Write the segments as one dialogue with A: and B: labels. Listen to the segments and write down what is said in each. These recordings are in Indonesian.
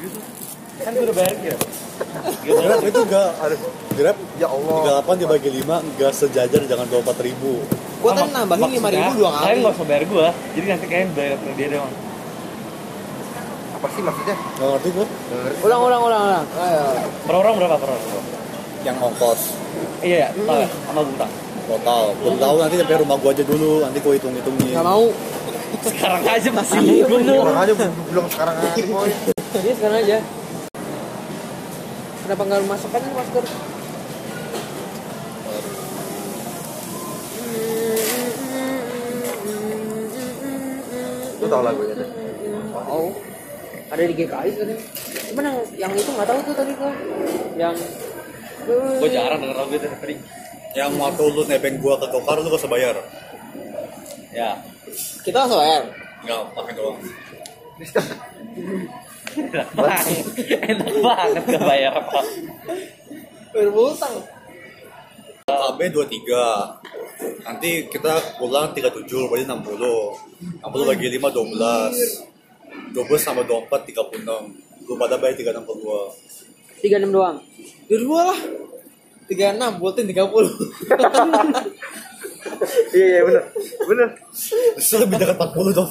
A: gitu
B: kan gue udah bayar dia
C: Grab itu enggak Grab
A: ya Allah
C: 38 dibagi 5 enggak sejajar jangan 24 ribu
D: Gua tadi nambahin 5.000 dua kali.
B: kalian nggak usah bayar gue jadi nanti kalian bayar ke dia doang
A: apa sih maksudnya
C: Nggak ngerti gue
D: Ulang ulang ulang ulang. Ayo.
B: per orang berapa per orang
C: Yang ongkos
B: iya iya tau ya, sama bintang
C: total Belum tahu nanti nyampe rumah gua aja dulu Nanti gua hitung-hitungin
D: Enggak mau.
B: sekarang aja masih bingung lu
A: orang aja belum Ya belum sekarang aja boy
D: Iya sekarang aja. Kenapa nggak lu masukkan ini masker?
A: lu tau lagunya tuh
D: Tahu. Ada di GKI tadi. Cuman yang yang itu nggak tahu tuh tadi gua. Yang
B: gue jarang denger lagu itu tadi
C: Yang waktu lu nebeng gua ke Gokar lu gak usah bayar
B: ya
D: kita soal.
C: Enggak, pakai doang
B: enak banget enak banget gak bayar apa
D: Berbutang.
C: KB 23 Nanti kita pulang 37 berarti 60 60 bagi 5 12 12 sama 24 36 Lu pada bayar 362
D: Tiga enam doang. Berdua lah. Tiga enam, buatin tiga puluh.
A: iya iya bener bener
C: Terus lebih dekat 40 dong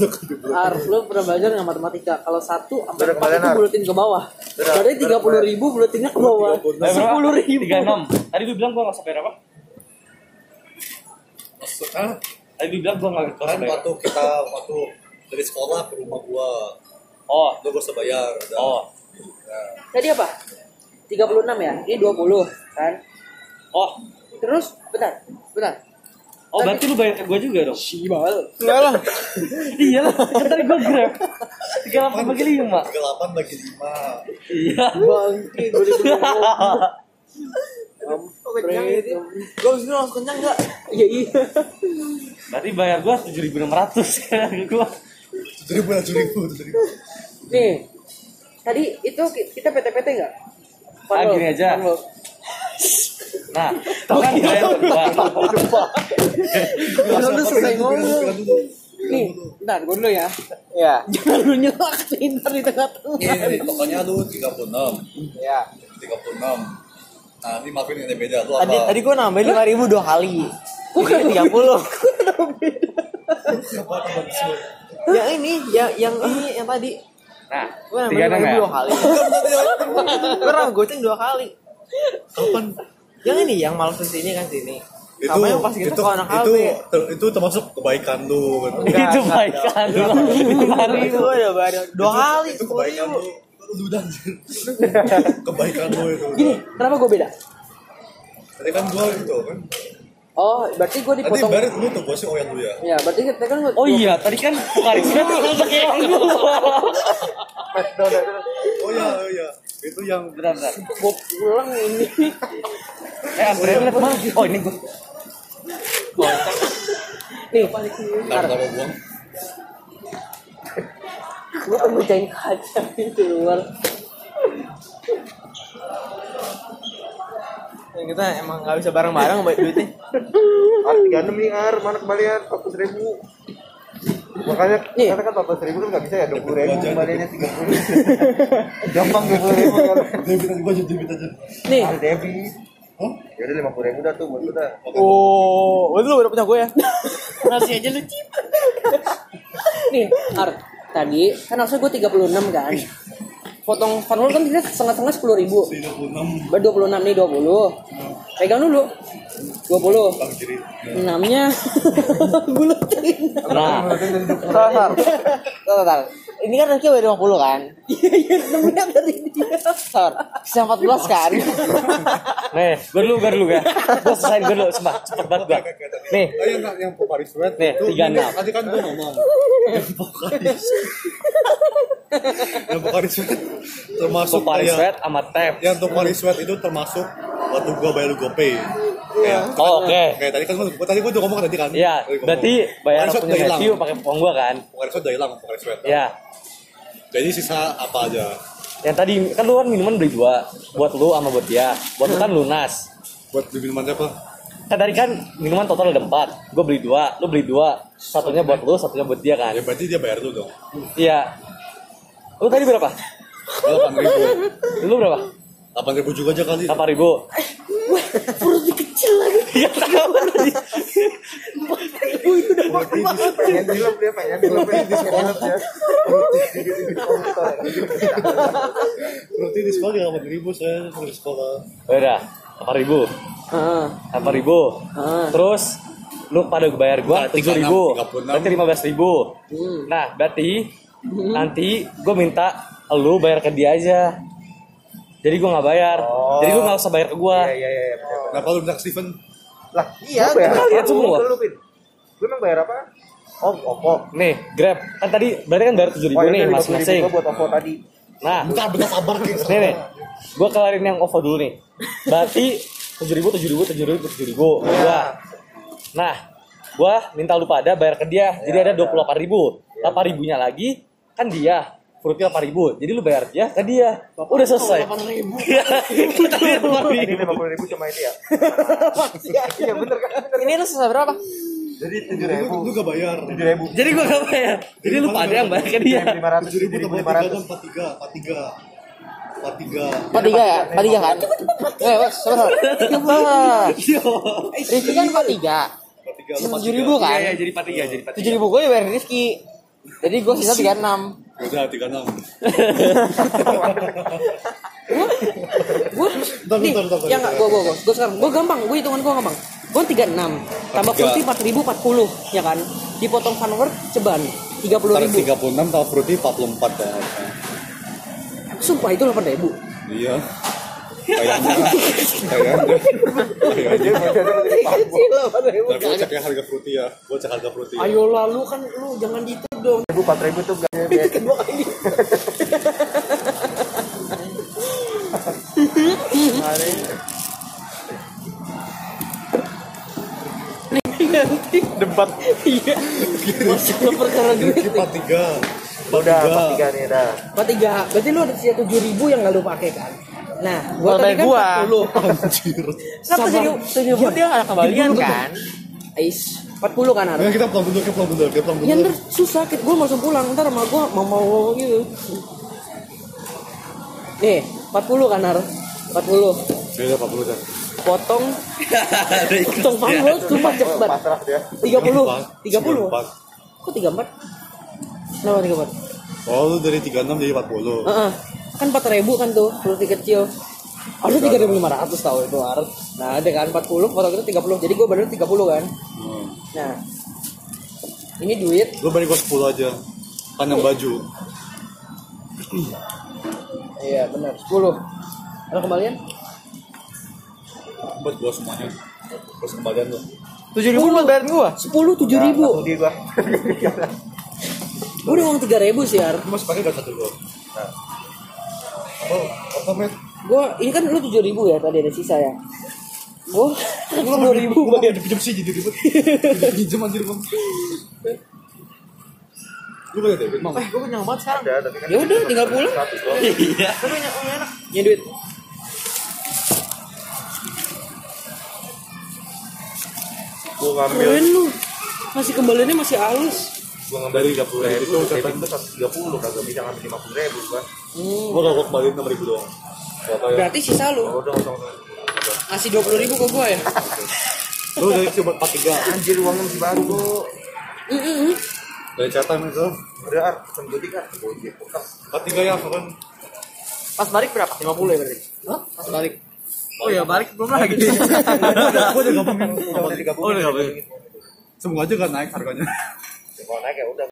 D: Harus lu pernah belajar nggak matematika? Kalau satu
A: Udah,
D: sampai empat
A: kembalian,
D: itu
A: Ar.
D: bulatin ke bawah.
A: Udah,
D: Berarti
A: udah,
D: tiga puluh ribu bulatinnya ke bawah. Sepuluh ribu.
B: tiga enam tadi gue bilang gue nggak usah bayar apa
C: Hah?
B: tadi gue bilang gue nggak nggak usah
C: Kan
B: bayar
C: waktu kita waktu dari sekolah ke rumah gua,
B: oh
C: lu gak usah bayar. udah.
B: oh
C: Nah,
D: Tadi apa? 36 ya? Ini 20 kan?
B: oh
D: Terus, bentar, bentar.
B: oh berarti lu bayar ke gue juga dong
D: Sibal. Enggak lah.
B: iya lah kan tadi gue grab tiga delapan bagi lima
C: 38 bagi 5.
B: iya
D: Bangki, gue disuruh.
A: kenyang
D: Kampret. Gue disuruh langsung kenyang enggak? ya Iya, iya.
B: berarti bayar gue tujuh ribu enam ratus kan gue
C: 7000 ya 7000, 7000.
D: Nih. Tadi itu ki- kita PT-PT enggak?
B: Ah, gini aja. nah tau kan bayar gue
D: Kalau lu selesai ngomong. Nih, bentar, gue dulu ya.
A: iya
D: Jangan lu nyelak pintar
B: Iya,
C: Ini
D: di tengah-tengah.
C: nih, pokoknya lu 36,
D: Iya.
C: 36. Nah, ini maafin yang beda lu
E: Tadi,
C: apa?
E: tadi gue nambahin lima ribu dua kali.
D: Bukan.
E: Tiga puluh.
C: Apa, apa, apa?
E: yang Ya ini, yang yang ini yang tadi.
B: nah
E: Gue
B: tiga
E: nambahin lima
B: enam ya
E: ribu dua kali. Gue nambah goceng dua kali.
C: Kapan?
E: Yang ini, yang malas ke sini kan sini.
C: Itu
E: Sama yang pas kita
C: itu
E: ke anak Iya.
C: itu,
E: HB.
C: ter- itu termasuk kebaikan lu. gitu.
E: Enggak,
B: itu
E: enggak,
B: baik kan
E: Lima ribu gue udah
B: Iya,
E: bayar dua
C: Itu-
E: kali.
C: itu
E: sepuluh
C: kebaikan
E: ribu.
C: lu. Lu udah anjir. Kebaikan lu itu.
D: Gini, kenapa gue beda?
C: Tadi kan gua itu kan.
D: Oh, berarti gue
C: Tadi
D: dipotong.
C: baru lu tuh gua sih oh yang lu ya.
D: Ya, berarti kita kan gua-
B: Oh iya, tadi kan bukan itu
C: Oh ya, oh ya. Itu yang
B: Bentar, bentar.
D: gue pulang ini
B: Eh, Andre lihat banget. Oh, ini gua.
D: nih
C: Ntar kalau buang.
D: gue pengen mecahin kaca itu luar
E: Yang Ya, Kita emang gak bisa bareng-bareng buat duitnya.
A: ar tiga enam nih ar mana kembalian empat ribu makanya
D: Nih.
A: karena kan empat ribu kan nggak bisa ya dua puluh ribu
C: Gua aja.
A: kembaliannya tiga puluh gampang dua puluh ribu kan
C: Debit aja, gua jadi debit aja.
D: nih
A: ar debit
C: Hah?
A: ya udah lima puluh ribu dah tuh buat lu dah
E: Oh, berarti lu udah punya gue ya?
B: Masih aja lucu.
D: nih Ar tadi kan harusnya gue 36 kan potong fanwall kan kita setengah-setengah 10 ribu
C: 36
D: Ber 26 nih 20 pegang dulu 20
C: tangan kiri.
D: enamnya bulatin
B: Nah,
E: Salah, salah. Salah, salah. Ini kan Rifki udah 50 kan?
D: iya iya enamnya dari dia
E: Sor, bisa 14 kan?
B: nih, gua dulu, gua dulu, gua. Gua selesain gua dulu, sumpah, cepet banget gua. Nih.
C: Ah, yang yang Paris Red.
B: Nih, 36.
C: Tuh, ini Tadi kan gua ngomong. Yang Paris. Yang Paris Red termasuk
B: Sumpah
E: Iya.
C: yang-
B: sweat sama tap.
C: Yang untuk Paris Red itu termasuk waktu gua bayar lu GoPay. Iya.
B: Oh, oke.
C: Kayak tadi kan gua tadi gua udah ngomong tadi kan.
B: Iya,
C: Tadi gua
B: berarti
C: ngomong.
B: bayar
C: Paris Red
B: punya
C: udah hilang.
B: Matthew pakai popong gua kan.
C: Paris Red udah hilang Paris Red.
B: Iya.
C: Jadi sisa apa aja?
B: Yang tadi kan lu kan minuman beli dua, buat lu sama buat dia. Buat lu kan lunas.
C: Buat beli minuman siapa?
B: Kan tadi kan minuman total ada empat, gua beli dua, lu beli dua, satunya buat lu, satunya buat dia kan.
C: Ya berarti dia bayar lu dong.
B: Iya. Lu tadi berapa?
C: delapan ribu
B: Lu berapa?
C: delapan ribu juga aja kali
B: Delapan ribu.
E: Perut dikecil lagi.
B: Iya tahu tadi.
A: pengen dilap dia pengen dilap pengen diskonat ya
C: berarti di sekolah di delapan ribu saya terus sekolah
B: Udah, Oh, iya delapan ribu,
E: Heeh.
B: delapan ribu.
D: Hmm.
B: Terus lu pada bayar gua
C: Nah,
B: tujuh
C: 36,
B: ribu,
C: 36.
B: berarti lima belas ribu. Nah, berarti nanti gua minta lu bayar ke dia aja. Jadi gua nggak bayar, jadi gua nggak usah bayar ke gua.
A: iya iya iya
C: nah kalau bilang Steven
A: lah iya
B: Lu bayar apa? Semua.
A: lu pin lu emang bayar apa oh oppo
B: Nih, Grab kan tadi berarti kan bayar
A: Oh,
B: tujuh ribu nih masing-masing.
A: buat oppo tadi
B: Nah,
C: entah bener sabar kayak
B: Nih nih, gue kelarin yang OVO dulu nih. Berarti tujuh ribu, tujuh ribu, tujuh ribu, tujuh ribu. Gua. Nah, gue minta lu pada bayar ke dia. Jadi ada dua puluh delapan ribu. Delapan ribunya lagi kan dia. Perutnya delapan ribu. Jadi lu bayar dia ke dia. Udah selesai. Delapan ribu.
A: ini lima puluh ribu cuma ini ya iya bener kan bener
E: Ini lu selesai berapa?
A: jadi tujuh ribu
C: lu gak bayar
A: tujuh ribu
B: Jadi gue gak bayar. Jadi lu pada yang bayar ke dia.
A: lima ratus
C: tujuh ribu tambah
A: lima
C: tiga
A: ratus
C: kan empat tiga empat tiga empat tiga
E: Empat tiga ya? Empat tiga kan? Eh, wes, sabar sabar. Rizky kan empat tiga.
C: empat tiga empat
E: Tujuh
C: tiga
E: ribu kan?
B: Iya, jadi pati ya, jadi pati.
E: Tujuh ribu gue dibayar Rizky. Jadi gue sisa tiga enam.
C: Ya udah tiga enam
D: gue
C: Bentar,
D: nih
C: bentar, bentar,
D: ya nggak gue gue gue sekarang gue gampang gue hitungan gue gampang gue tiga enam tambah kursi empat ribu empat puluh ya kan dipotong fanwork ceban tiga puluh
C: Ntar
D: ribu
C: tiga puluh enam tahun fruity empat puluh empat ya
D: sumpah itu delapan ribu
C: iya kayaknya kayaknya kayaknya
E: Kecil delapan ribu.
C: Nah, gue cek ya harga fruity ya gue cek harga fruity ya.
D: ayo lah lu kan lu jangan gitu dong
A: ribu empat ribu tuh gak ada
D: kedua kali nanti
A: debat
D: iya masuk ke perkara duit
C: Ini empat tiga empat
A: udah
C: tiga
A: empat tiga nih dah
D: empat tiga berarti lu ada sisa tujuh ribu yang nggak lu pakai kan nah gua
E: Kalau
D: tadi
E: dari
D: kan
E: gua.
D: empat puluh
C: Anjir.
D: Kenapa
E: Sabar.
D: tujuh tujuh ribu Iya, dia nggak
E: Kembalian kan?
D: Ais, 40 kan
C: Nah,
D: harus.
C: kita pelan mundur, kita pelan mundur, kita pelan
D: Ya
C: mundur.
D: ntar susah, sakit gue langsung pulang ntar sama gue mau mau gitu. Nih, 40 kan harus. 40
C: Beda 40 dah.
D: potong potong palu lo cuma cepat
A: pasrah dia
D: 30
C: 94.
D: 30 kok 34 kenapa 34
C: Oh, lu dari 36 jadi 40.
D: Heeh. kan 4000 kan tuh fruity kecil harusnya 3500 tau itu harus nah dengan 40 potong itu 30 jadi gue bener 30 kan
C: Hmm.
D: nah ini duit
C: Lu balik gua 10 aja. Kan yang baju.
D: Iya benar. 10. Ada kembalian?
C: Buat gua semuanya. Terus kembalian lu.
E: Tujuh ribu lu bayar gue.
D: 10 7000.
A: rugi gua
D: Udah uang 3000 sih, Ar.
C: Lu masih pakai gak satu lu?
A: Nah.
C: Oh, apa met?
D: Gua ini kan lu 7000 ya tadi ada sisa ya. Gua
C: Gua Gua
D: 10.000 bayar.
C: nggak ada pinjam sih jadi ribet. Jadi Pinjam anjir bang. Lu bayar debit bang.
E: Gue kenyang banget sekarang.
A: udah tapi kan
D: Ya udah tinggal pulang.
B: Iya.
D: Ya duit.
A: gua ngambil
D: Keren lu. Masih kembaliannya masih halus.
A: gua ngambil tiga puluh ribu
C: Itu
A: saving itu satu tiga puluh kagak bisa ngambil lima puluh ribu gua Hmm.
C: Gua gak gua kembaliin 6 ribu doang. Gak apa ya.
D: Berarti sisa lu.
A: Oh, udah usah usah.
D: Ngasih 20.000 ke gua ya.
C: Lu dari cuma 43.
A: anjir uangnya masih baru gua
D: Heeh.
C: Dari catatan itu.
A: udah ar pesen gojek ar gojek bekas
C: 43 ya, kan.
E: Pas balik berapa?
D: 50 ya berarti.
E: Hah? Pas balik. Oh ya balik belum lagi.
C: Gua udah gabungin.
A: udah udah tiga
C: Oh,
A: puluh
C: udah gabungin. Semoga aja gak naik harganya.
A: kalau naik ya udah